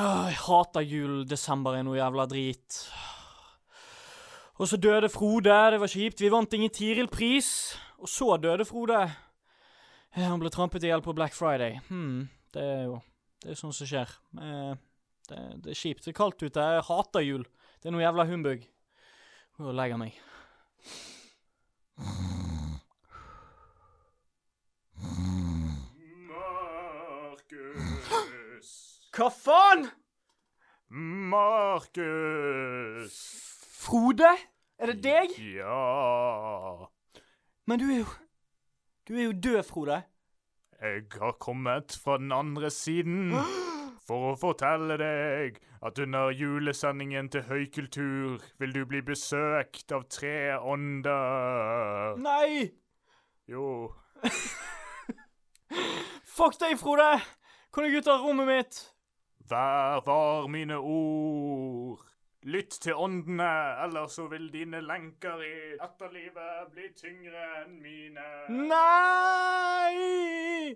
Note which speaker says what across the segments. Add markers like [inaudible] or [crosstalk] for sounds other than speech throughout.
Speaker 1: Åh, Ah, jeg hater jul. Desember er noe jævla drit. Og så døde Frode. Det var kjipt. Vi vant ingen Tiril-pris. Og så døde Frode. Ja, Han ble trampet i hjel på Black Friday. Hm, det er jo Det er sånt som skjer. Eh, det, det er kjipt. Det er kaldt ute. Jeg hater jul. Det er noe jævla humbug. Går og legger meg.
Speaker 2: Markus.
Speaker 1: Hva faen?!
Speaker 2: Markus.
Speaker 1: Frode? Er det deg?
Speaker 2: Ja.
Speaker 1: Men du er jo Du er jo død, Frode.
Speaker 2: Jeg har kommet fra den andre siden for å fortelle deg at under julesendingen til Høykultur vil du bli besøkt av tre ånder.
Speaker 1: Nei!
Speaker 2: Jo,
Speaker 1: Fuck deg, Frode! Kan jeg ut av rommet mitt?
Speaker 2: Hver var mine ord. Lytt til åndene, ellers så vil dine lenker i etterlivet bli tyngre enn mine.
Speaker 1: Nei!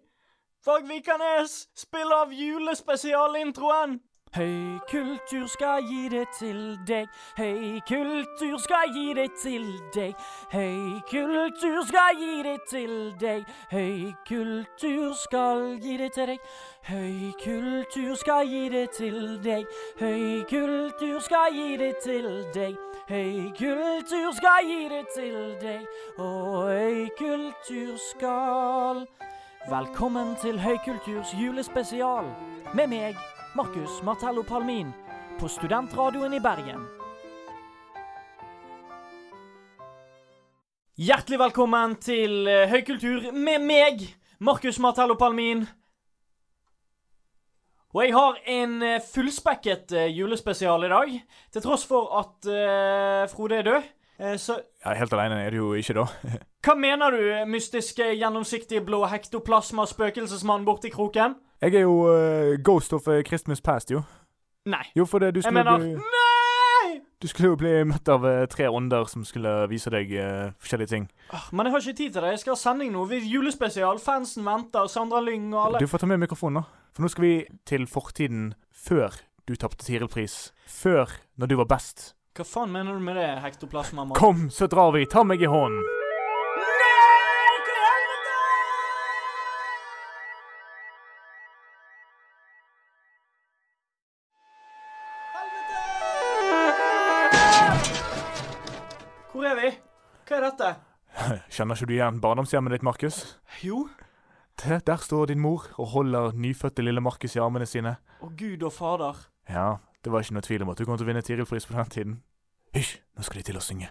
Speaker 1: Fag Vikernes, spill av julespesialintroen! Høy kultur skal gi det til deg. Høy kultur skal gi det til deg. Høy kultur skal gi det til deg. Høy kultur skal gi det til deg. Høy kultur skal gi det til deg. Høy kultur skal gi det til deg. Høy kultur skal gi det til deg. Og høy kultur skal Velkommen til Høykulturs julespesial med meg, Markus Martello Palmin, på Studentradioen i Bergen. Hjertelig velkommen til eh, Høykultur med meg, Markus Martello Palmin. Og jeg har en eh, fullspekket eh, julespesial i dag, til tross for at eh, Frode er død. Eh, så
Speaker 2: Ja, helt aleine er du jo ikke, da.
Speaker 1: hva mener du, mystiske, gjennomsiktige blå hektoplasma-spøkelsesmann borti kroken?
Speaker 2: Jeg er jo eh, Ghost of eh, Christmas Past, jo.
Speaker 1: Nei.
Speaker 2: Jo, for det, du
Speaker 1: Jeg
Speaker 2: skulle,
Speaker 1: mener
Speaker 2: bli,
Speaker 1: Nei!
Speaker 2: du skulle jo bli møtt av eh, tre ånder som skulle vise deg eh, forskjellige ting.
Speaker 1: Åh, Men jeg har ikke tid til det. Jeg skal ha sending nå. Vi julespesial. Fansen venter. Sandra Lyng og alle
Speaker 2: Du får ta med mikrofonen, da. For nå skal vi til fortiden før du tapte Tiril-pris. Før, når du var best.
Speaker 1: Hva faen mener du med det, hektoplasma-mann?
Speaker 2: Kom, så drar vi. Ta meg i hånden.
Speaker 1: Hvor er vi? Hva er dette?
Speaker 2: Kjenner ikke du igjen barndomshjemmet ditt, Markus?
Speaker 1: Jo.
Speaker 2: Der, der står din mor og holder nyfødte lille Markus i armene sine.
Speaker 1: Å, Gud og Fader.
Speaker 2: Ja, det var ikke noe tvil om at du kom til å vinne Tiril-pris på den tiden. Hysj, nå skal de til å synge.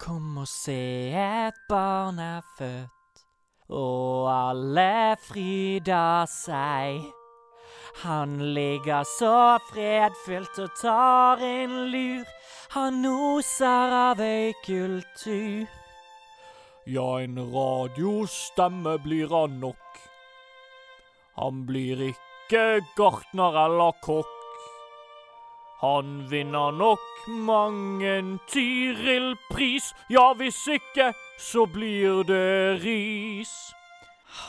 Speaker 1: Kom og se et barn er født, og alle fryder seg. Han ligger så fredfylt og tar en lur, han oser av øykultur. Ja, en radiostemme blir han nok. Han blir ikke gartner eller kokk. Han vinner nok mange Tiril-pris. Ja, hvis ikke, så blir det ris.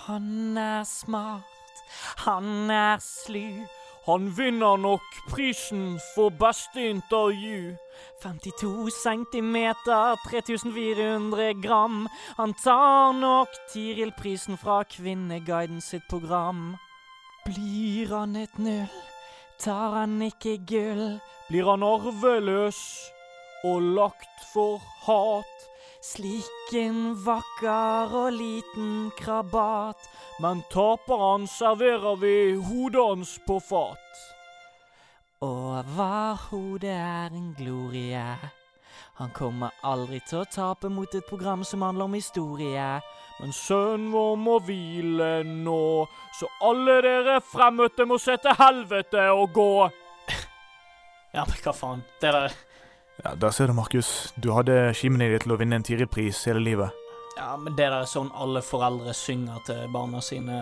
Speaker 1: Han er smart, han er slu. Han vinner nok prisen for beste intervju. 52 centimeter, 3400 gram. Han tar nok Tiril-prisen fra Kvinneguiden sitt program. Blir han et null? Tar han ikke gull, blir han arveløs og lagt for hat. Slik en vakker og liten krabat, men taper han serverer vi hodet hans på fat. Over hodet er en glorie. Han kommer aldri til å tape mot et program som handler om historie. Men sønnen vår må hvile nå, så alle dere fremmøtte må se til helvete og gå. Ja, men hva faen? Det der
Speaker 2: Ja, Der ser du, Markus. Du hadde kimen i deg til å vinne en Tiril-pris hele livet.
Speaker 1: Ja, men det der er sånn alle foreldre synger til barna sine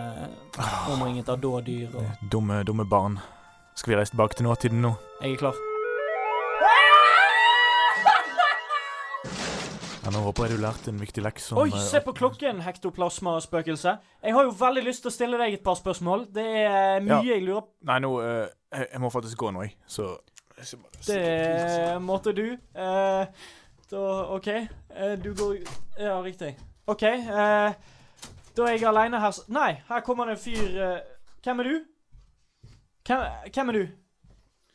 Speaker 2: Ah.
Speaker 1: omringet av dådyr og
Speaker 2: Dumme, dumme barn. Skal vi reise tilbake til nåtiden nå?
Speaker 1: Jeg er klar.
Speaker 2: Ja, Ja, nå håper jeg du lærte en viktig lekse. om,
Speaker 1: Oi,
Speaker 2: eh,
Speaker 1: se på klokken, hektoplasmaspøkelse. Jeg har jo veldig lyst til å stille deg et par spørsmål. Det er eh, mye jeg lurer på.
Speaker 2: Nei, nå eh, jeg, jeg må faktisk gå nå, jeg. Så jeg skal bare-
Speaker 1: Det måtte du. Eh, da OK. Eh, du går Ja, riktig. OK. eh, da er jeg aleine her s- Nei, her kommer det en fyr eh, Hvem er du? Hvem, hvem er du?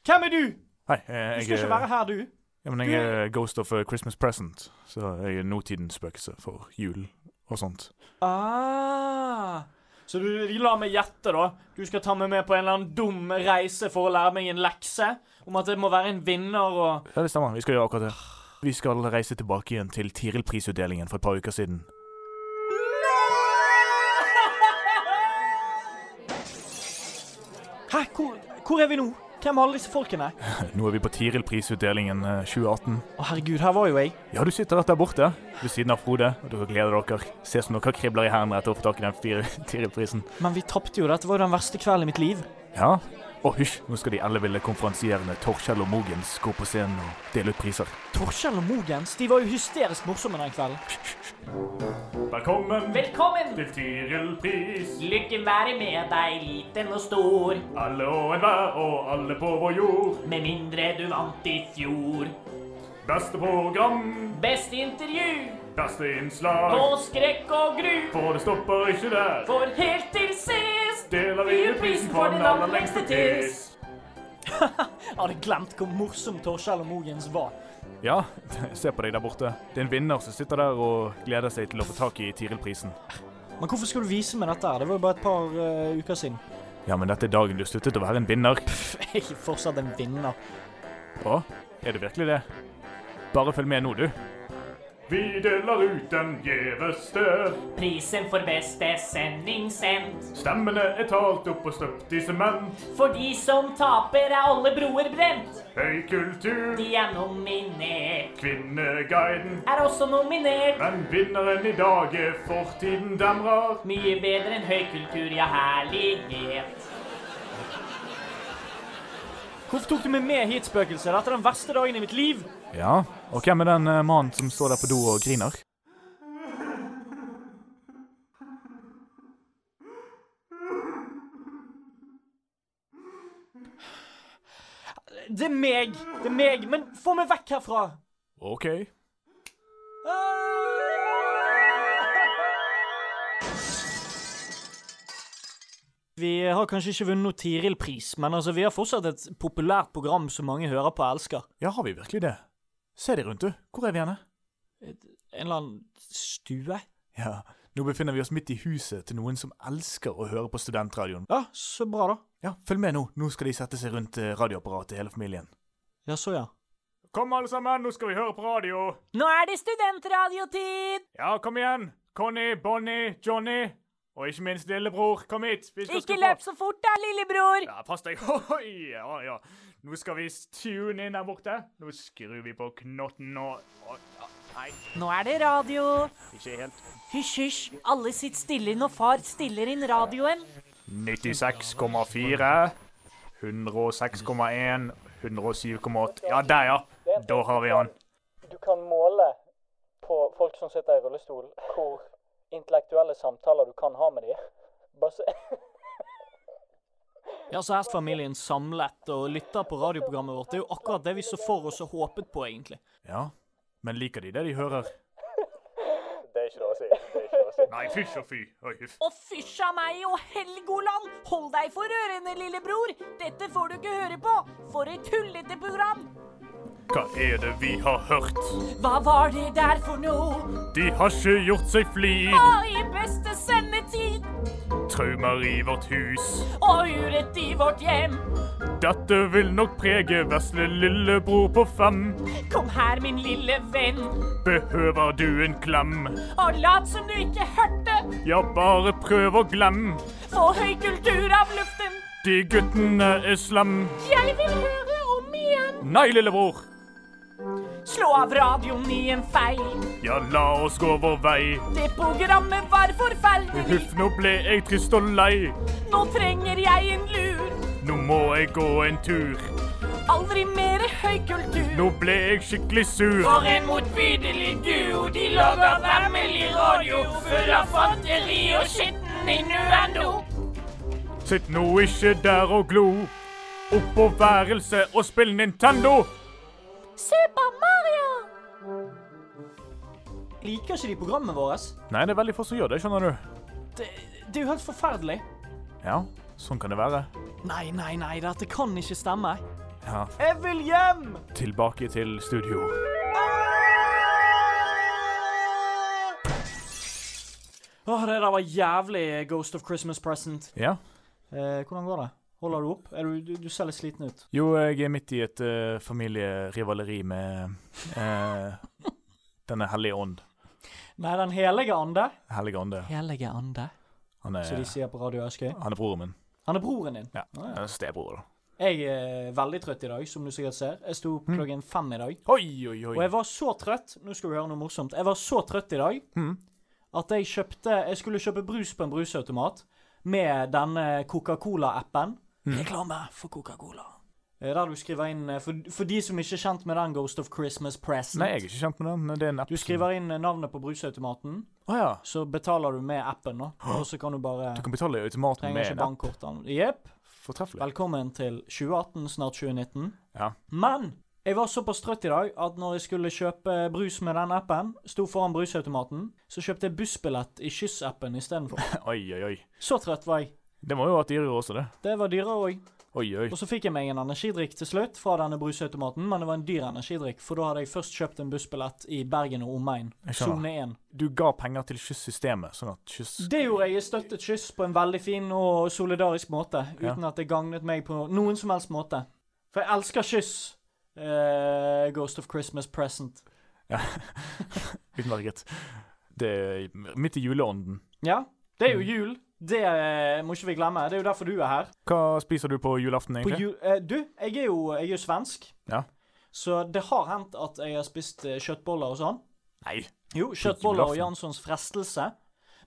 Speaker 1: Hvem er du?
Speaker 2: Hei, eh,
Speaker 1: Du
Speaker 2: jeg,
Speaker 1: skal ikke
Speaker 2: er-
Speaker 1: være her, du.
Speaker 2: Ja, men jeg er Ghost of a Christmas Present, så jeg er nåtidens spøkelse for jul og sånt.
Speaker 1: Ah. Så du, de la meg gjette, da. Du skal ta meg med på en eller annen dum reise for å lære meg en lekse? Om at det må være en vinner og
Speaker 2: Ja, det stemmer. Vi skal gjøre akkurat det. Vi skal reise tilbake igjen til Tiril-prisutdelingen for et par uker siden.
Speaker 1: Hæ, hvor, hvor er vi nå? Hvem er alle disse folkene? Å,
Speaker 2: Nå er vi på Tiril-prisutdelingen eh, 2018.
Speaker 1: herregud, her var jo jeg.
Speaker 2: Ja, du sitter rett der borte ved siden av Frode, og dere gleder dere. Ser som dere kribler i hendene etter å få tak i den fire [laughs] Tiril-prisen.
Speaker 1: Men vi tapte jo. Dette var jo den verste kvelden i mitt liv.
Speaker 2: Ja. Og hysj, nå skal de elleville konferansierende Torkjell og Mogens gå på scenen og dele ut priser.
Speaker 1: Torkjell og Mogens de var jo hysterisk morsomme den kvelden.
Speaker 2: Velkommen
Speaker 1: Velkommen!
Speaker 2: til Tiril-pris.
Speaker 1: Lykke være med deg, liten og stor.
Speaker 2: Alle og enhver og alle på vår jord.
Speaker 1: Med mindre du vant i fjor.
Speaker 2: Beste program,
Speaker 1: Beste intervju
Speaker 2: beste innslag.
Speaker 1: og skrekk og gru.
Speaker 2: For det stopper ikke der.
Speaker 1: For helt til sist
Speaker 2: Deler vi ut prisen for den aller lengste tiss.
Speaker 1: Jeg hadde glemt hvor morsom Torkjell og Mogens var.
Speaker 2: Ja, [laughs] se på deg der borte. Det er en vinner som sitter der og gleder seg til å få tak i Tiril-prisen.
Speaker 1: Men hvorfor skulle du vise meg dette? her? Det var jo bare et par eh, uker siden. [laughs]
Speaker 2: Ja, men dette er dagen du sluttet å være en vinner.
Speaker 1: Jeg er fortsatt en vinner.
Speaker 2: Å, er det virkelig det? Bare følg med nå, du. Vi deler ut den gjeveste.
Speaker 1: Prisen for beste sending sendt.
Speaker 2: Stemmene er talt opp og støpt i sement.
Speaker 1: For de som taper, er alle broer brent.
Speaker 2: Høy kultur,
Speaker 1: De er nominert.
Speaker 2: kvinneguiden.
Speaker 1: Er også nominert.
Speaker 2: Men vinneren i dag er fortiden demrer.
Speaker 1: Mye bedre enn høykultur, ja, herlighet. Hvorfor tok du meg med hit, spøkelse? Dette er den verste dagen i mitt liv.
Speaker 2: Ja, og hvem er den eh, mannen som står der på do og griner?
Speaker 1: Det er meg. Det er meg. Men få meg vekk herfra.
Speaker 2: Ok.
Speaker 1: Vi har kanskje ikke vunnet noen Tiril-pris, men altså, vi har fortsatt et populært program som mange hører på og elsker.
Speaker 2: Ja, har vi virkelig det? Se deg rundt, du. Hvor er vi henne?
Speaker 1: En eller annen stue?
Speaker 2: Ja, nå befinner vi oss midt i huset til noen som elsker å høre på studentradioen.
Speaker 1: Ja, så bra, da.
Speaker 2: Ja, følg med nå. Nå skal de sette seg rundt eh, radioapparatet, hele familien.
Speaker 1: Ja, så ja.
Speaker 2: Kom alle sammen, nå skal vi høre på radio.
Speaker 1: Nå er det studentradiotid!
Speaker 2: Ja, kom igjen. Conny, Bonnie, Johnny. Og ikke minst lillebror, kom hit.
Speaker 1: så fort da, lillebror!
Speaker 2: Ja, pass deg. [laughs] Oi, ja, ja. Nå skal vi tune inn der borte. Nå skrur vi på knotten og Nei,
Speaker 1: Nå er det radio.
Speaker 2: ikke helt.
Speaker 1: Hysj, hysj. Alle sitter stille når far stiller inn radioen.
Speaker 2: 96,4, 106,1, 107,8 Ja, der, ja. Da har vi han.
Speaker 1: Du kan måle på folk som sitter i rullestol, hvor intellektuelle samtaler du kan ha med dem. ja, så er familien samlet og lytter på radioprogrammet vårt. Det er jo akkurat det vi så for oss og håpet på, egentlig.
Speaker 2: Ja, men liker de det de hører?
Speaker 3: Det er ikke lov å si. Det er ikke lov å si.
Speaker 2: Nei, fysj og fy. Oi, huff.
Speaker 4: Og fysj av meg og Helgoland! Hold deg for ørene, lillebror! Dette får du ikke høre på! For et tullete program!
Speaker 2: Hva er det vi har hørt?
Speaker 4: Hva var det der for noe?
Speaker 2: De har ikke gjort seg flid.
Speaker 4: Å, i beste sendetid!
Speaker 2: Traumer i vårt hus.
Speaker 4: Og urett i vårt hjem!
Speaker 2: Dette vil nok prege vesle lillebror på fem.
Speaker 4: Kom her, min lille venn,
Speaker 2: Behøver du en klem?
Speaker 4: og lat som du ikke hørte!
Speaker 2: Ja, bare prøv å glemme.
Speaker 4: Få høy kultur av luften!
Speaker 2: De guttene er slem.
Speaker 4: Jeg vil høre om igjen!
Speaker 2: Nei, lillebror.
Speaker 4: Slå av radioen i en feil!
Speaker 2: Ja, la oss gå vår vei.
Speaker 4: Det programmet var forferdelig!
Speaker 2: Huff, nå ble jeg trist og lei.
Speaker 4: Nå trenger jeg en lur!
Speaker 2: Nå må jeg gå en tur.
Speaker 4: Aldri mere høykultur.
Speaker 2: Nå ble jeg skikkelig sur.
Speaker 5: For en motbydelig duo, de lager vemmelig radio full av fanteri og skitten innuendo.
Speaker 2: Sitt nå ikke der og glo. Opp på værelset og spill Nintendo.
Speaker 4: Super Mario!
Speaker 1: Liker ikke de programmet vårt?
Speaker 2: Nei, det er veldig få som gjør det, skjønner du.
Speaker 1: Det, det er jo helt forferdelig.
Speaker 2: Ja, sånn kan det være.
Speaker 1: Nei, nei, nei, dette kan ikke stemme.
Speaker 2: Ja,
Speaker 1: Jeg vil hjem!
Speaker 2: tilbake til studio.
Speaker 1: Åh, det der var jævlig Ghost of Christmas Present.
Speaker 2: Ja.
Speaker 1: Eh, hvordan går det? Holder du opp? Er du, du, du ser litt sliten ut.
Speaker 2: Jo, jeg er midt i et eh, familierivaleri med eh, denne hellige ånd.
Speaker 1: Nei, Den hellige ande.
Speaker 2: Hellige ånde.
Speaker 1: Hellige ande,
Speaker 2: Han
Speaker 1: som de
Speaker 2: er,
Speaker 1: sier på Radio Askøy.
Speaker 2: han er broren min.
Speaker 1: Han er broren din.
Speaker 2: Ja,
Speaker 1: Ah, ja.
Speaker 2: han er stebror, da.
Speaker 1: Jeg er veldig trøtt i dag, som du sikkert ser. Jeg sto opp klokken fem i dag.
Speaker 2: Oi, oi,
Speaker 1: Og
Speaker 2: oi.
Speaker 1: jeg var så trøtt Nå skal vi høre noe morsomt. Jeg var så trøtt i dag
Speaker 2: Mhm.
Speaker 1: at jeg kjøpte Jeg skulle kjøpe brus på en brusautomat med denne Coca-Cola-appen.
Speaker 2: Hmm.
Speaker 1: Reklame for Coca-Cola. Eh, Der du skriver inn eh, for, for de som ikke er kjent med den Ghost of Christmas Present
Speaker 2: Nei, jeg er ikke kjent med den. Det er en app.
Speaker 1: Du skriver inn eh, navnet på brusautomaten,
Speaker 2: Å ja.
Speaker 1: så betaler du med appen, da. Og så kan du bare
Speaker 2: Du kan betale i automaten
Speaker 1: Trenger
Speaker 2: med
Speaker 1: ikke
Speaker 2: en app.
Speaker 1: bankkortene. Jepp.
Speaker 2: Fortreffelig.
Speaker 1: Velkommen til 2018, snart 2019.
Speaker 2: Ja. [laughs]
Speaker 1: Men jeg var såpass trøtt i dag at når jeg skulle kjøpe brus med den appen, sto foran brusautomaten, så kjøpte jeg bussbillett i Kyss-appen istedenfor.
Speaker 2: [laughs] Oi, oi, oi.
Speaker 1: Så trøtt var jeg.
Speaker 2: Det må jo være dyrere også, det.
Speaker 1: Det var dyrere òg.
Speaker 2: Oi, oi.
Speaker 1: Og så fikk jeg meg en energidrikk til slutt fra denne brusautomaten, men det var en dyr energidrikk, for da hadde jeg først kjøpt en bussbillett i Bergen og omegn.
Speaker 2: Jeg skjønner.
Speaker 1: Sone 1.
Speaker 2: Du ga penger til kyssystemet, sånn at kyss
Speaker 1: Det gjorde jeg. Jeg støttet Kyss på en veldig fin og solidarisk måte.
Speaker 2: Ja.
Speaker 1: Uten at det gagnet meg på noen som helst måte. For jeg elsker Kyss. eh, Ghost of Christmas Present.
Speaker 2: Utmerket. Det er midt i juleånden.
Speaker 1: Ja, det er jo jul. Det eh, må ikke vi glemme. Det er jo derfor du er her.
Speaker 2: Hva spiser du på julaften,
Speaker 1: På
Speaker 2: egentlig?
Speaker 1: jul, eh, du, jeg er, jo, jeg er jo svensk.
Speaker 2: Ja.
Speaker 1: Så det har hendt at jeg har spist eh, kjøttboller og sånn.
Speaker 2: Nei.
Speaker 1: Jo, kjøttboller og
Speaker 2: julaften.
Speaker 1: Janssons frestelse.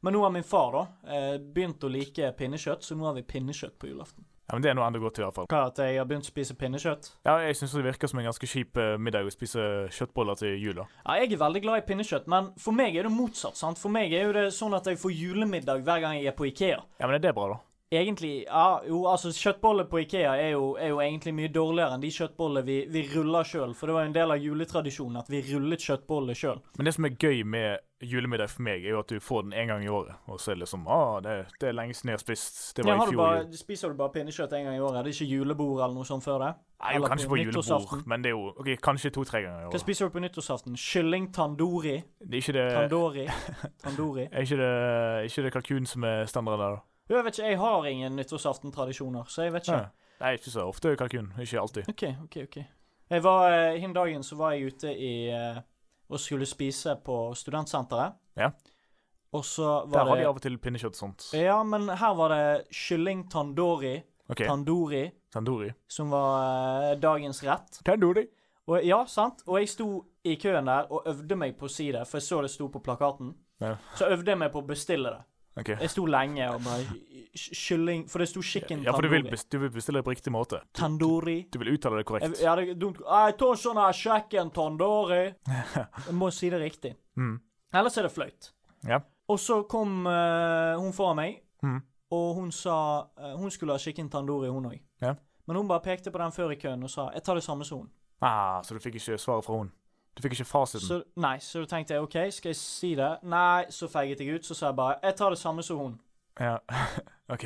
Speaker 1: Men nå har min far da eh, begynt å like pinnekjøtt, så nå har vi pinnekjøtt på julaften.
Speaker 2: Ja, men Det er noe enda godt, i hvert fall.
Speaker 1: Hva at jeg har begynt å spise pinnekjøtt?
Speaker 2: Ja, Jeg syns det virker som en ganske kjip eh, middag å spise kjøttboller til jula.
Speaker 1: Ja, jeg er veldig glad i pinnekjøtt, men for meg er det motsatt. sant? For meg er jo det sånn at jeg får julemiddag hver gang jeg er på Ikea.
Speaker 2: Ja, men er det bra, da?
Speaker 1: Egentlig, ja, jo, altså Kjøttboller på Ikea er jo, er jo egentlig mye dårligere enn de kjøttbollene vi, vi ruller sjøl. For det var jo en del av juletradisjonen at vi rullet kjøttboller sjøl.
Speaker 2: Men det som er gøy med julemiddag for meg, er jo at du får den én gang i året. Og så er det liksom ah, det, det er lenge siden jeg har spist. Det var i fjor. jul.
Speaker 1: Spiser du bare pinnekjøtt én gang i året? Det er ikke julebord eller noe sånt før det?
Speaker 2: Nei, jo,
Speaker 1: Eller
Speaker 2: kanskje på julebord,
Speaker 1: nyttårsaften?
Speaker 2: men det er jo ok, kanskje to-tre ganger i
Speaker 1: Hva
Speaker 2: året.
Speaker 1: spiser du på nyttårsaften? Kylling tandori?
Speaker 2: Det er ikke det, [laughs]
Speaker 1: Tandori? Tandori?
Speaker 2: er ikke det, er ikke det kalkun som er standard der, da?
Speaker 1: Jo, Jeg vet ikke, jeg har ingen nyttårsaftentradisjoner, så jeg vet ikke.
Speaker 2: Ja. Nei, ikke så ofte kalkun. Ikke alltid.
Speaker 1: Ok, ok, ok. Jeg var, eh, Hin dagen så var jeg ute i eh, og skulle spise på studentsenteret.
Speaker 2: Ja.
Speaker 1: Og så
Speaker 2: Der
Speaker 1: var
Speaker 2: har de
Speaker 1: det
Speaker 2: av og til pinnekjøtt og sånt.
Speaker 1: Ja, men her var det kylling tandori,
Speaker 2: OK.
Speaker 1: tandori,
Speaker 2: Tandori.
Speaker 1: som var eh, dagens rett.
Speaker 2: Tandori.
Speaker 1: Og ja, sant? Og jeg sto i køen der og øvde meg på å si det, for jeg så det sto på plakaten.
Speaker 2: Ja.
Speaker 1: Så øvde jeg meg på å bestille det.
Speaker 2: OK.
Speaker 1: Jeg sto lenge og bare ky- Kylling For det sto chicken
Speaker 2: Ja, for du vil,
Speaker 1: tandori.
Speaker 2: bes- du vil bestille det på riktig måte.
Speaker 1: Tandori.
Speaker 2: Du vil uttale det korrekt.
Speaker 1: Jeg, ja, det er dumt. Jeg tar sånn her kjekken tandori.
Speaker 2: [laughs]
Speaker 1: Jeg må si det riktig.
Speaker 2: Mm.
Speaker 1: Ellers er det flaut.
Speaker 2: Ja.
Speaker 1: Og så kom eh, hun foran meg,
Speaker 2: Mhm.
Speaker 1: og hun sa eh, hun skulle ha chicken tandori, hun òg.
Speaker 2: Ja.
Speaker 1: Men hun bare pekte på den før i køen og sa 'jeg tar det samme som hun'.
Speaker 2: Ah, så du fikk ikke svaret fra hun. Du fikk ikke fasiten.
Speaker 1: Så, nei, så da tenkte jeg OK, skal jeg si det? Nei, så feiget jeg ut. Så sa jeg bare 'jeg tar det samme som hun'.
Speaker 2: Ja. [laughs] OK.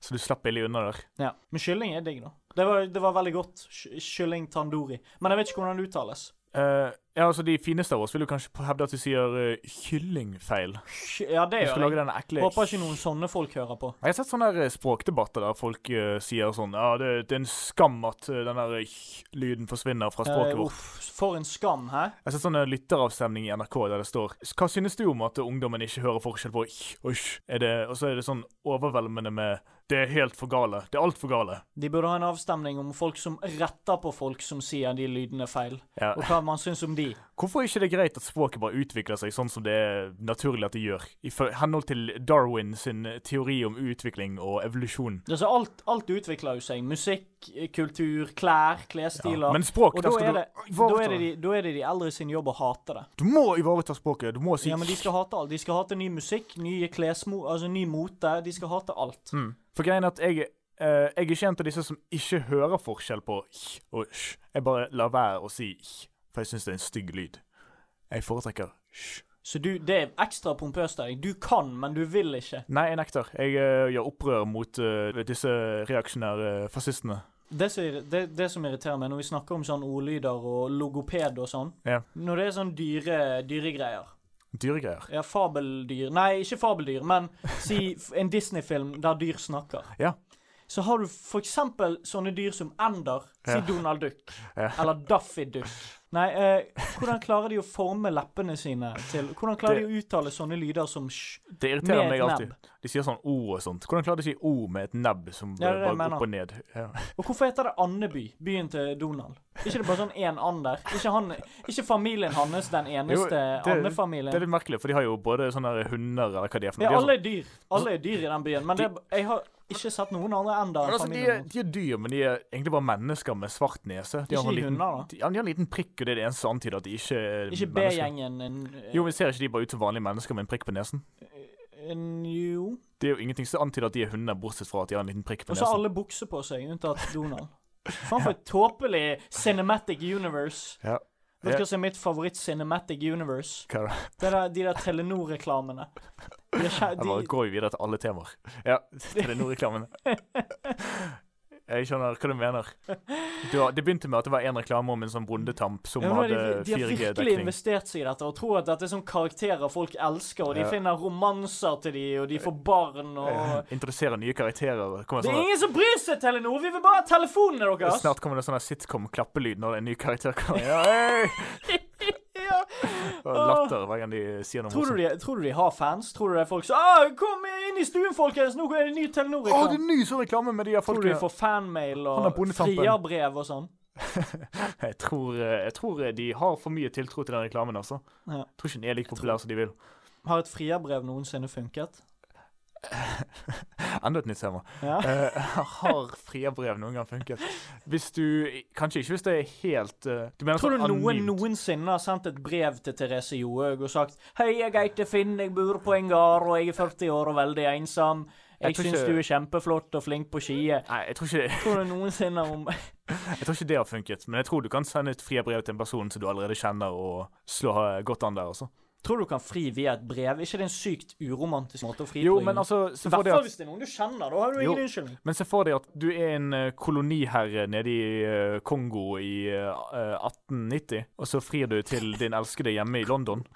Speaker 2: Så du slapp billig unna der.
Speaker 1: Ja. Men kylling er digg, da. Det var, det var veldig godt. Ky- Kylling tandori. Men jeg vet ikke hvordan det uttales.
Speaker 2: Eh, ja, altså De fineste av oss vil jo kanskje hevde at vi sier eh, kyllingfeil.
Speaker 1: Ky- Ja, det
Speaker 2: Vi skulle
Speaker 1: gjør
Speaker 2: lage
Speaker 1: jeg.
Speaker 2: den ekle
Speaker 1: Håper ikke noen sånne folk hører på.
Speaker 2: Jeg har sett sånne her, eh, språkdebatter der folk eh, sier sånn Ja, det, det er en skam at eh, den der eh, lyden forsvinner fra språket
Speaker 1: Eh,
Speaker 2: vårt.
Speaker 1: uff, for en skam, hæ?
Speaker 2: Jeg ser sånn lytteravstemning i NRK der det står Hva synes du om at ungdommen ikke hører forskjell på «ikk» og «sj»?» Er det, Og så er det sånn overveldende med Det er helt for gale. Det er altfor gale.
Speaker 1: De burde ha en avstemning om folk som retter på folk som sier de lydene feil,
Speaker 2: Ja.
Speaker 1: og hva man syns om de. Nei!
Speaker 2: Hvorfor er ikke det greit at språket bare utvikler seg sånn som det er naturlig at det gjør, i fø- henhold til Darwin sin teori om utvikling og evolusjon?
Speaker 1: Altså, alt, alt utvikler jo seg. Musikk, eh, kultur, klær, klesstiler.
Speaker 2: Men språk,
Speaker 1: og da
Speaker 2: der skal
Speaker 1: er,
Speaker 2: du
Speaker 1: det, da,
Speaker 2: ivareta
Speaker 1: er det de,
Speaker 2: det.
Speaker 1: da er det de eldre sin jobb å hate det.
Speaker 2: Du må ivareta språket. Du må si
Speaker 1: Ja, men De skal hate alt. De skal hate ny musikk, nye klesmo... Altså ny mote. De skal hate alt.
Speaker 2: Mm. For greien er at jeg, eh, jeg er ikke en av disse som ikke hører forskjell på «h» og «sj». Jeg bare lar være å si «h», for jeg syns det er en stygg lyd. Jeg foretrekker «sj».
Speaker 1: Så du, det er ekstra pompøst av deg. Du kan, men du vil ikke.
Speaker 2: Nei, jeg nekter. Jeg eh, gjør opprør mot eh, disse reaksjonære eh, fascistene.
Speaker 1: Det som, irri- det, det som irriterer meg når vi snakker om sånn ordlyder og logoped og sånn,
Speaker 2: Ja.
Speaker 1: når det er sånn dyre dyregreier
Speaker 2: Dyregreier.
Speaker 1: Ja, fabeldyr Nei, ikke fabeldyr, men si f- en Disney-film der dyr snakker.
Speaker 2: Ja.
Speaker 1: Så har du for eksempel sånne dyr som ender. Si
Speaker 2: Ja.
Speaker 1: Donald Duck.
Speaker 2: Ja.
Speaker 1: Eller Daffy Duck. Nei, eh, hvordan klarer de å forme leppene sine til Hvordan klarer de å uttale sånne lyder som sj?
Speaker 2: Det irriterer
Speaker 1: Med et
Speaker 2: meg alltid.
Speaker 1: nebb.
Speaker 2: De sier sånn O og sånt. Hvordan klarer de å si O med et nebb som
Speaker 1: Ja, det er det
Speaker 2: eh,
Speaker 1: jeg
Speaker 2: bare
Speaker 1: mener.
Speaker 2: går opp og ned? Ja.
Speaker 1: Og hvorfor heter det Andeby, byen til Donald? Ikke det bare sånn én and der? Ikke, han, ikke familien hans den
Speaker 2: Jo,
Speaker 1: eneste
Speaker 2: det- Det er
Speaker 1: andefamilien?
Speaker 2: litt altså. merkelig, for de har jo både sånne der hunder eller hva de er for
Speaker 1: Ja,
Speaker 2: noe. De er
Speaker 1: alle er dyr. Alle er dyr i den byen, men det, er- jeg har ikke sett noen andre enda
Speaker 2: Men
Speaker 1: enn
Speaker 2: altså, de,
Speaker 1: familien
Speaker 2: er,
Speaker 1: hans.
Speaker 2: de er dyr, men de er egentlig bare mennesker med svart nese. De
Speaker 1: Ikke
Speaker 2: en
Speaker 1: de
Speaker 2: liten,
Speaker 1: hunder, da?
Speaker 2: de, ja, de har en liten prikk, og det er det eneste som antyder at de ikke er
Speaker 1: Ikke
Speaker 2: mennesker.
Speaker 1: B-gjengen en-
Speaker 2: Jo, men Ser ikke de bare ut som vanlige mennesker med en prikk på nesen?
Speaker 1: en- Jo.
Speaker 2: Det er jo ingenting som antyder at de er hunder, bortsett fra at de har en liten prikk på
Speaker 1: Og så
Speaker 2: nesen.
Speaker 1: har alle bukser på seg, unntatt Donald. Faen for et tåpelig cinematic universe.
Speaker 2: Ja.
Speaker 1: Vet du hva som er mitt favoritt-cinematic universe?
Speaker 2: Hva er det?
Speaker 1: Det er da- de der Telenor-reklamene. De er kjæ-
Speaker 2: Jeg bare
Speaker 1: de-
Speaker 2: går vi videre til alle temaer. Ja, [laughs] Telenor-reklamen.
Speaker 1: [laughs]
Speaker 2: Jeg skjønner hva du mener. Du har, det begynte med at det var en reklame om en sånn bondetamp som
Speaker 1: Ja, men
Speaker 2: hadde
Speaker 1: de, de har virkelig
Speaker 2: 4G-dekning.
Speaker 1: investert seg i dette og tror at dette er sånne karakterer folk elsker, og de
Speaker 2: Ja. Eh, altså-
Speaker 1: finner romanser til de, og de får barn og
Speaker 2: [laughs] Introduserer nye karakterer. Kommer
Speaker 1: Det er
Speaker 2: sånn
Speaker 1: ingen som bryr seg, Telenor! Vi vil bare ha telefonene deres!
Speaker 2: Snart kommer det sånn her sitcom-klappelyd når en ny karakter kommer. Ja, hei! [laughs]
Speaker 1: Ja.
Speaker 2: Og latter hver gang de sier noe
Speaker 1: Tror du,
Speaker 2: morsomt.
Speaker 1: de, tror du de har fans? Tror du det er folk som ah, 'Kom inn i stuen, folkens! Nå er det ny
Speaker 2: Å, det er
Speaker 1: Telenor-reklame'?
Speaker 2: en ny sånn reklame med de her
Speaker 1: Tror du de
Speaker 2: folkene.
Speaker 1: får fanmail
Speaker 2: Han er
Speaker 1: og
Speaker 2: bondetampen.
Speaker 1: frierbrev og sånn?
Speaker 2: Jeg tror, eh, jeg tror eh, de har for mye tiltro til den reklamen, altså.
Speaker 1: Ja.
Speaker 2: Jeg tror ikke den er like populær som de vil.
Speaker 1: Har et frierbrev noensinne funket?
Speaker 2: Enda et nytt tema.
Speaker 1: Ja.
Speaker 2: Eh, [laughs] har frierbrev noen gang funket? Hvis du Kanskje ikke hvis det er helt eh, Du mener
Speaker 1: Tror du
Speaker 2: sånn
Speaker 1: noen
Speaker 2: anonymt?
Speaker 1: noensinne har sendt et brev til Therese Johaug og sagt 'Hei, jeg heter Finn, jeg bor på en gard, og jeg er 40 år og veldig ensom'.
Speaker 2: Jeg
Speaker 1: Jeg,
Speaker 2: tror
Speaker 1: syns
Speaker 2: ikke-
Speaker 1: du er kjempeflott og flink på ski.
Speaker 2: Nei, jeg tror, ikke,
Speaker 1: Tror du noensinne om [laughs]
Speaker 2: jeg tror ikke det har funket. Men jeg tror du kan sende et frierbrev til en person som du allerede kjenner, og slå eh, godt an der, altså.
Speaker 1: Tror du du kan fri via et brev? ikke det en sykt uromantisk måte å fri
Speaker 2: Jo,
Speaker 1: på?
Speaker 2: men altså
Speaker 1: I
Speaker 2: se for
Speaker 1: hvert
Speaker 2: deg
Speaker 1: fall
Speaker 2: at,
Speaker 1: hvis det er noen du kjenner. Da har du
Speaker 2: Jo.
Speaker 1: ingen unnskyldning.
Speaker 2: men se for deg at du er en eh, koloniherre nede i eh, Kongo i eh, eh, 1890, og så frir du til din elskede hjemme i London.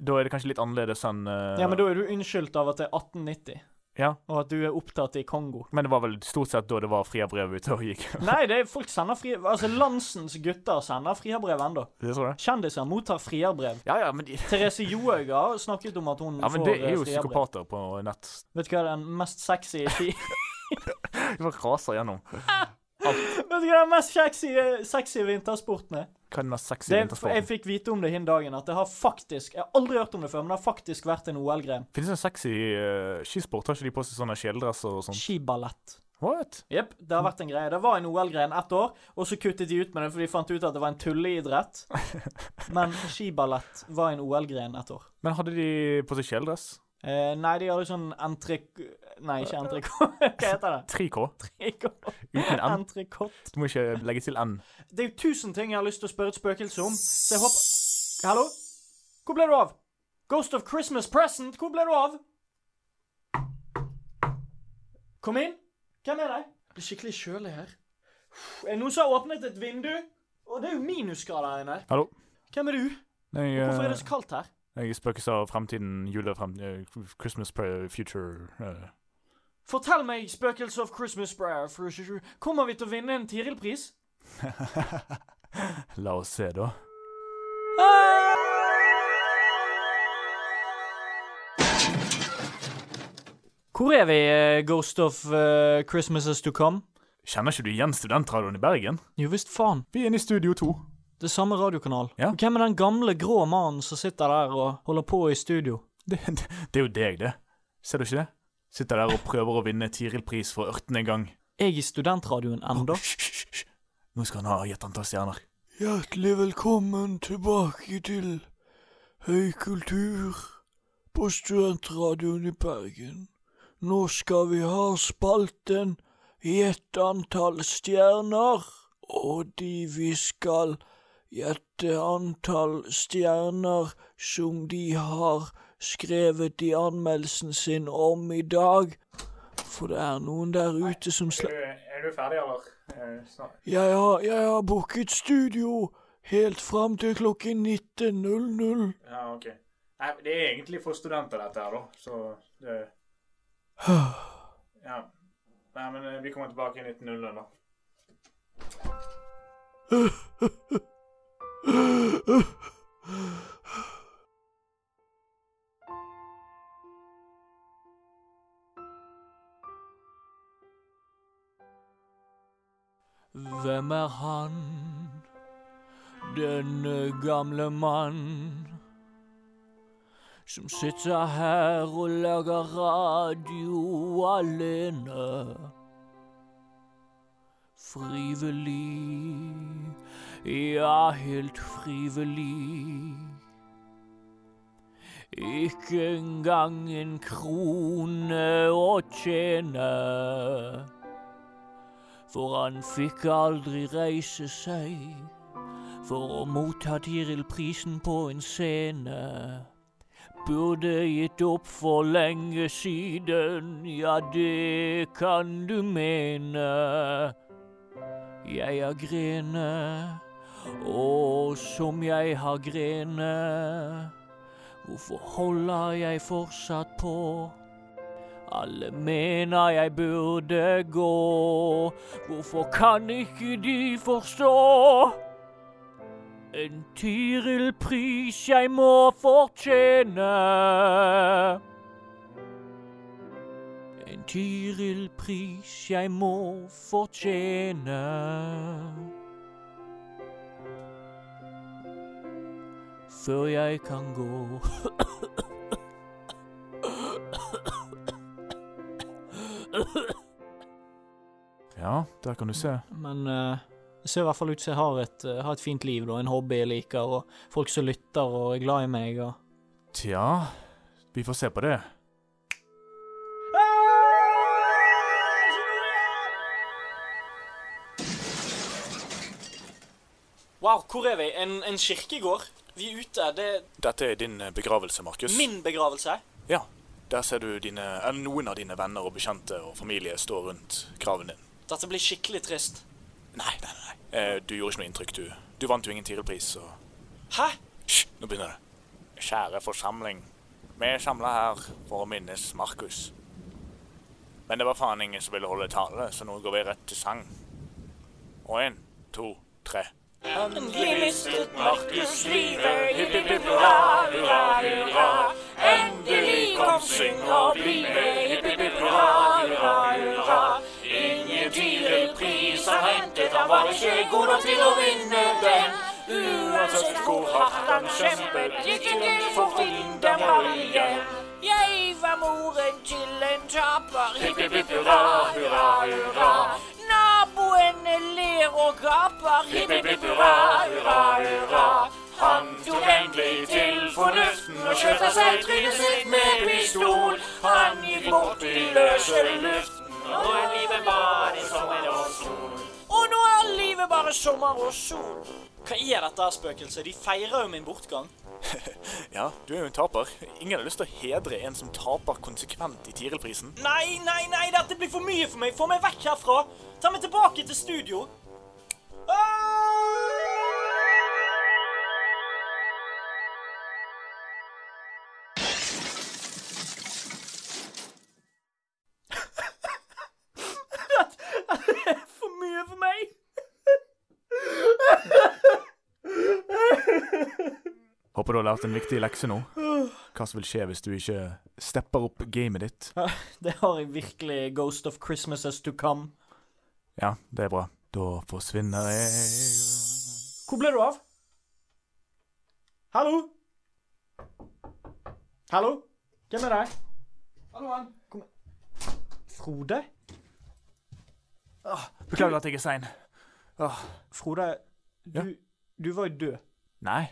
Speaker 2: Da er det kanskje litt annerledes enn eh,
Speaker 1: Ja, men da er du unnskyldt av at det er 1890,
Speaker 2: Ja.
Speaker 1: og at du er opptatt i Kongo. [laughs]
Speaker 2: men det var vel stort sett da det var frierbrev ute og gikk. [laughs]
Speaker 1: Nei, det er folk sender fri... Altså, landsens gutter sender frierbrev ennå.
Speaker 2: det tror jeg.
Speaker 1: Kjendiser mottar frierbrev.
Speaker 2: Ja, ja, men, de,
Speaker 1: Therese Johaug har snakket om at hun
Speaker 2: ja, men
Speaker 1: får
Speaker 2: det
Speaker 1: eh,
Speaker 2: er jo
Speaker 1: frierbrev.
Speaker 2: psykopater på nett.
Speaker 1: Vet du hva den mest sexy [laughs] ski...
Speaker 2: De bare raser gjennom.
Speaker 1: Vet du hva den mest sexy, sexy vintersporten er?
Speaker 2: Hva er den mest sexy
Speaker 1: Det, jeg
Speaker 2: vintersporten?
Speaker 1: fikk vite om det hin dagen, at det har faktisk Jeg har aldri hørt om det før, men det har faktisk vært en OL-gren.
Speaker 2: Finnes det en sexy eh, skisport? Har ikke de på seg sånne kjeledresser og sånn?
Speaker 1: Skiballett.
Speaker 2: What?
Speaker 1: Jepp, det har vært en greie. Det var en OL-gren ett år, og så kuttet de ut med det, for de fant ut at det var en tulleidrett.
Speaker 2: [laughs]
Speaker 1: Men skiballett var en OL-gren ett år.
Speaker 2: Men hadde de på seg kjeledress?
Speaker 1: Eh, nei, de hadde sånn entrekk... Nei,
Speaker 2: [laughs]
Speaker 1: ikke entrekk... [laughs] Hva heter det?
Speaker 2: 3K?
Speaker 1: Entrekk- [laughs]
Speaker 2: Uten N?
Speaker 1: Entrekott.
Speaker 2: Du må ikke legge til N.
Speaker 1: Det er jo tusen ting jeg har lyst til å spørre et spøkelse om, så jeg håper Hallo? Hvor ble du av? Ghost of Christmas Present, hvor ble du av? Kom inn. Hvem er deg? Det er skikkelig kjølig her. Er det noen som har åpnet et vindu? Og det er jo minusgrader her inne.
Speaker 2: Hallo.
Speaker 1: Hvem er du?
Speaker 2: Jeg,
Speaker 1: Hvorfor er det
Speaker 2: eh,
Speaker 1: så kaldt her?
Speaker 2: jeg spøkes av fremtiden, julefrem... eh, Christmas pre- future eh.
Speaker 1: Fortell meg, spøkelse of Christmas prayer, for ikke- kommer vi til å vinne en Tiril-pris?
Speaker 2: La oss se, da.
Speaker 1: Hvor er vi, eh, Ghost of eh, Christmases to come?
Speaker 2: Kjenner ikke du igjen studentradioen i Bergen?
Speaker 1: Jo visst faen.
Speaker 2: Vi er inne i Studio 2.
Speaker 6: Det er samme radiokanal.
Speaker 2: Ja.
Speaker 6: Og Hvem er den gamle, grå mannen som sitter der og holder på i studio?
Speaker 2: Det, det, det er jo deg, det. Ser du ikke det? Sitter der og prøver å vinne Tiril-pris for ørtende gang.
Speaker 6: Jeg i studentradioen enda.
Speaker 2: Hysj, hysj, hysj. Nå skal han ha gitt antall stjerner.
Speaker 1: Hjertelig velkommen tilbake til Høykultur på Studentradioen i Bergen. Nå skal vi ha spalten Gjett antall stjerner. Og de vi skal gjette antall stjerner som de har skrevet i anmeldelsen sin om i dag. For det er noen der ute som sla...
Speaker 7: Er du ferdig, eller? Eh,
Speaker 1: Jeg har, jeg har booket studio helt fram til klokken 19.00.
Speaker 7: Ja, OK. Nei, det er egentlig for studenter, dette her, da. Så
Speaker 2: [sighs]
Speaker 7: det Ja. Nei, men eh, vi kommer tilbake i 1900, da.
Speaker 1: Hvem er han? Denne gamle mann som sitter her og lager radio alene. Frivillig, ja, helt frivillig. Ikke engang en krone å tjene for han fikk aldri reise seg for å motta Tiril-prisen på en scene. Burde gitt opp for lenge siden, ja, det kan du mene. Jeg har grene, og som jeg har grene, hvorfor holder jeg fortsatt på? Alle mener jeg burde gå. Hvorfor kan ikke de forstå? En Tiril-pris jeg må fortjene. En Tiril-pris jeg må fortjene. Før jeg kan gå.
Speaker 2: Ja, der kan du se.
Speaker 6: Men eh, det ser i hvert fall ut som jeg har et, eh, har et fint liv, da. En hobby jeg liker, og folk som lytter og er glad i meg. Og...
Speaker 2: Tja, vi får se på det.
Speaker 6: Wow, hvor er vi? En, en kirkegård? Vi er ute. Det er
Speaker 2: Dette er din eh, begravelse, Markus.
Speaker 6: min begravelse.
Speaker 2: Ja. Der ser du dine, eller noen av dine venner og bekjente og familie stå rundt graven din.
Speaker 6: Dette blir skikkelig trist.
Speaker 2: Nei, nei, nei. Eh, du gjorde ikke noe inntrykk, du. Du vant jo ingen Tiril-pris, så
Speaker 6: Hæ?
Speaker 2: Hysj, nå begynner det. Kjære forsamling. Vi er samla her for å minnes Markus. Men det var faen ingen som ville holde tale, så nå går vi rett til sang. Og én, to, tre.
Speaker 5: Endelig mistet Markus livet. Hipp, hipp, hipp, hurra, hurra, hurra. Endelig kom syng og bli med. Hipp, hipp, hipp, hurra, hurra, hurra. Ingen Tiril-pris har hentet, han var ikke god nok til å vinne den. Uansett hvor hardt han kjempet, gikk ikke det for å vinne ham igjen.
Speaker 8: Jeg var moren til en taper.
Speaker 5: Hipp, hipp, hipp, hurra, hurra, hurra.
Speaker 8: Naboene ler og gaper.
Speaker 5: Hipp, hipp, hipp, hurra, hurra, hurra. Han tok endelig til fornuften og skjøt av seg trynet sitt med pistol. Han gikk bort i løse luften, og nå er livet bare sommer og sol.
Speaker 8: Og nå er livet bare sommer og sol.
Speaker 6: Hva er dette her spøkelset? De feirer jo min bortgang.
Speaker 2: Ja, du er jo en taper. Ingen har lyst til å hedre en som taper konsekvent i Tiril-prisen.
Speaker 6: Nei, nei, nei, dette blir for mye for meg. Få meg vekk herfra. Ta meg tilbake til studio. Ah! [laughs]
Speaker 8: For mye for meg.
Speaker 2: Håper du har lært en viktig lekse nå. Hva som vil skje hvis du ikke stepper opp gamet ditt.
Speaker 6: Det har jeg virkelig. Ghost of Christmases to come.
Speaker 2: Ja, det er bra. Da forsvinner jeg
Speaker 6: Hvor ble du av?
Speaker 1: Hallo? Hallo? Hvem er det? Frode?
Speaker 5: Beklager at jeg er sein.
Speaker 1: Frode, du, du var jo død.
Speaker 5: Nei.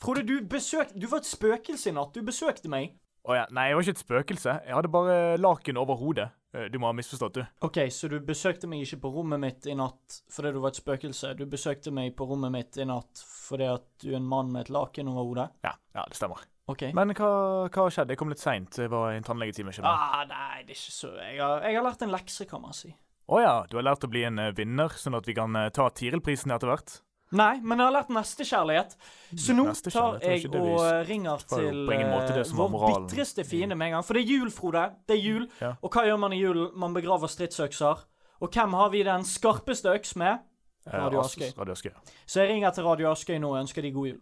Speaker 1: Frode, du besøkte Du var et spøkelse i natt. Du besøkte meg.
Speaker 2: Å ja. Nei, jeg var ikke et spøkelse. Jeg hadde bare laken over hodet. Eh, Du må ha misforstått, du.
Speaker 1: OK, så du besøkte meg ikke på rommet mitt i natt fordi du var et spøkelse. Du besøkte meg på rommet mitt i natt fordi at du er en mann med et laken over hodet.
Speaker 2: Ja, ja det stemmer.
Speaker 1: OK.
Speaker 2: Men hva, hva skjedde? Jeg kom litt seint. Jeg var i en tannlegetime. skjønner du.
Speaker 1: ah, nei, det er ikke så Jeg har, jeg har lært en lekse, kan man si.
Speaker 2: Å ja, du har lært å bli en eh, vinner, sånn at vi kan eh, ta Tiril-prisen etter hvert?
Speaker 1: Nei, men jeg har lært nestekjærlighet. Så nå tar
Speaker 2: Nestekjærlighet var
Speaker 1: jeg
Speaker 2: ikke det vi
Speaker 1: og
Speaker 2: s-
Speaker 1: eh, ringer
Speaker 2: var jo
Speaker 1: til
Speaker 2: på ingen
Speaker 1: eh,
Speaker 2: måte det som var
Speaker 1: vår
Speaker 2: moralen. Mm.
Speaker 1: bitreste fiende med en gang. For det er jul, Frode. Det er jul.
Speaker 2: Ja.
Speaker 1: Og hva gjør man i julen? Man begraver stridsøkser. Og hvem har vi den skarpeste øks med?
Speaker 2: Eh,
Speaker 1: Radio
Speaker 2: As-
Speaker 1: Askøy.
Speaker 2: Radio Askøy.
Speaker 1: Så jeg ringer til Radio Askøy nå og ønsker de god jul.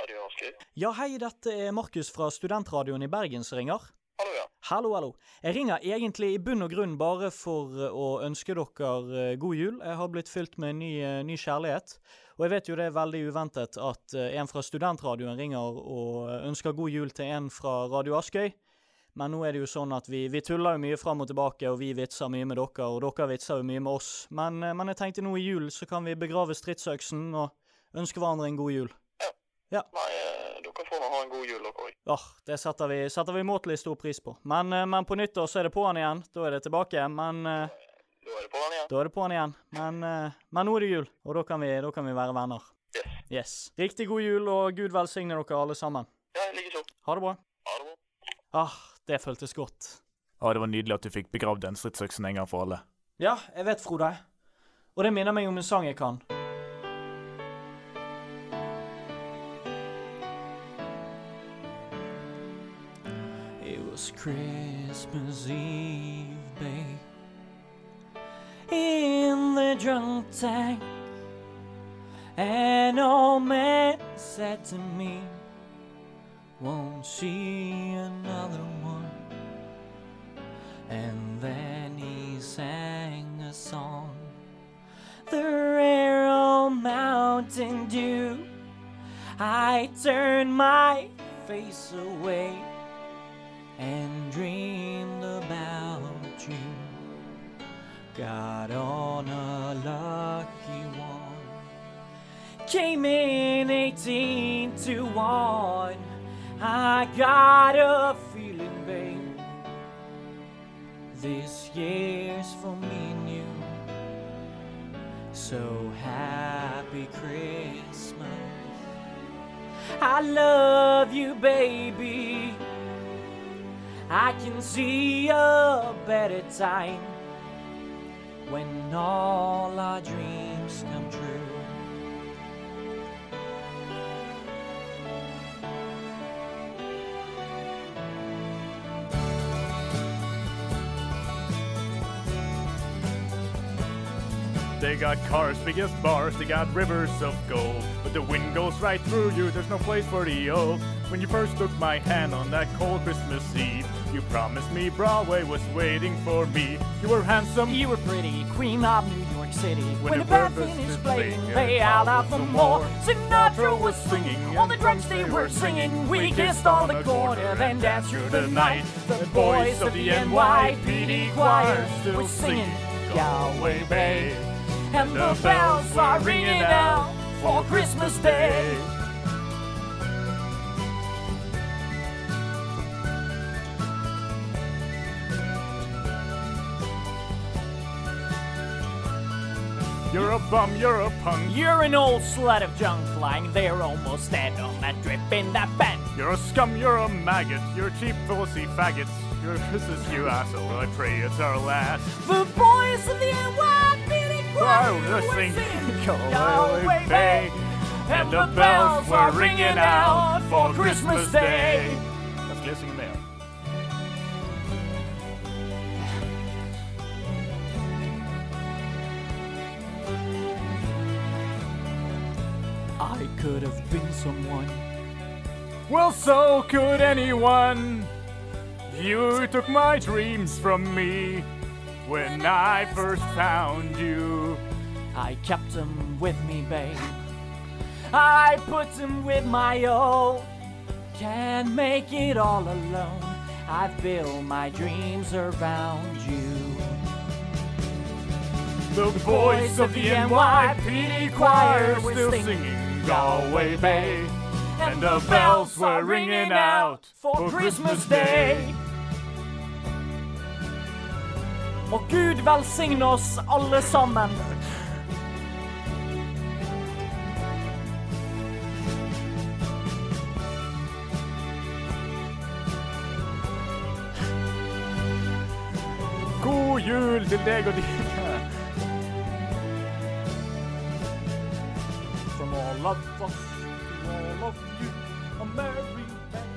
Speaker 9: Radio Askøy.
Speaker 1: Ja, hei, dette er Markus fra Studentradioen i Bergen som ringer.
Speaker 9: Hallo, ja.
Speaker 1: Hallo, hallo. Jeg ringer egentlig i bunn og grunn bare for eh, å ønske dere eh, god jul. Jeg har blitt fylt med ny, eh, ny kjærlighet. Og jeg vet jo det er veldig uventet at eh, en fra Studentradioen ringer og eh, ønsker god jul til en fra Radio Askøy. Men nå er det jo sånn at vi, vi tuller jo mye fram og tilbake, og vi vitser mye med dere, og dere vitser jo mye med oss. Men, eh, men jeg tenkte nå i jul så kan vi begrave stridsøksen og ønske hverandre en god jul.
Speaker 9: Nei, eh, dere får nå ha en god jul, dere òg.
Speaker 1: Åh, det setter vi, setter vi måtelig stor pris på. Men, eh, men på nyttår så er det på'n igjen. Da er det tilbake. Men eh,
Speaker 9: Da er det på den igjen.
Speaker 1: da er det på'n igjen. Men, eh, men nå er det jul, og da kan vi, da kan vi være venner.
Speaker 9: Yes.
Speaker 1: Yes. Riktig god jul, og Gud velsigne dere alle sammen.
Speaker 9: Ja, likeså.
Speaker 1: Ha det bra.
Speaker 9: Ha det bra.
Speaker 1: Ah, det føltes godt.
Speaker 2: Å, det var nydelig at du fikk begravd den stridsøksen en gang for alle.
Speaker 1: Ja, jeg vet, Frode. Og det minner meg om en sang jeg kan. It was Christmas Eve, babe. In the drunk tank, an old man said to me, Won't see another one. And then he sang a song. The rare old Mountain Dew. I turned my face away and dreamed about you. Got on a lucky one came in 18 to 1. I got a feeling, babe. This year's for me and you. So happy Christmas. I love you, baby. I can see a better time when all our dreams come true.
Speaker 2: They got cars, big as bars, they got rivers of gold. But the wind goes right through you, there's no place for the old. When you first took my hand on that cold Christmas Eve, you promised me Broadway was waiting for me. You were handsome,
Speaker 5: You were pretty, queen of New York City. When,
Speaker 2: the
Speaker 5: the band
Speaker 2: Breakfast
Speaker 5: finished
Speaker 2: is
Speaker 5: playing,
Speaker 2: playing,
Speaker 5: they
Speaker 2: and
Speaker 5: out
Speaker 2: out
Speaker 5: of
Speaker 2: of
Speaker 5: the
Speaker 2: the
Speaker 5: moor.
Speaker 2: moor.
Speaker 5: Sinatra was singing, all the drums they were singing. We kissed on the corner, then danced through the night. The boys of the NYPD choir still singing Galway Bay. And the bells are ringing out for Christmas Day.
Speaker 2: You're a bum, you're a punk,
Speaker 5: You're an old slut of junk flying there almost dead on that drip in that bend.
Speaker 2: you're a scum, you're a maggot, you're cheap, filthy faggots. Your Christmas, you asshole, I pray it's our last.
Speaker 5: The boys of the NYPD choir
Speaker 2: Oh,
Speaker 5: were
Speaker 2: the singing [laughs]
Speaker 5: Galway Bay.
Speaker 2: And the bells were ringing out for Christmas Day. Jeg skal synge med.
Speaker 5: I could have been someone.
Speaker 2: Well, so could anyone. You took my dreams from me when I first found you.
Speaker 5: I kept him with me, babe. I put him with my all. Can't make it all alone. I've built my dreams around you.
Speaker 2: The voice of the NYPD choir was still singing Galway Bay. And the bells were ringing out for Christmas Day.
Speaker 5: Og Gud velsigne oss alle sammen.
Speaker 2: God jul til deg og dine.
Speaker 5: From all of us, to all of you, a merry Christmas.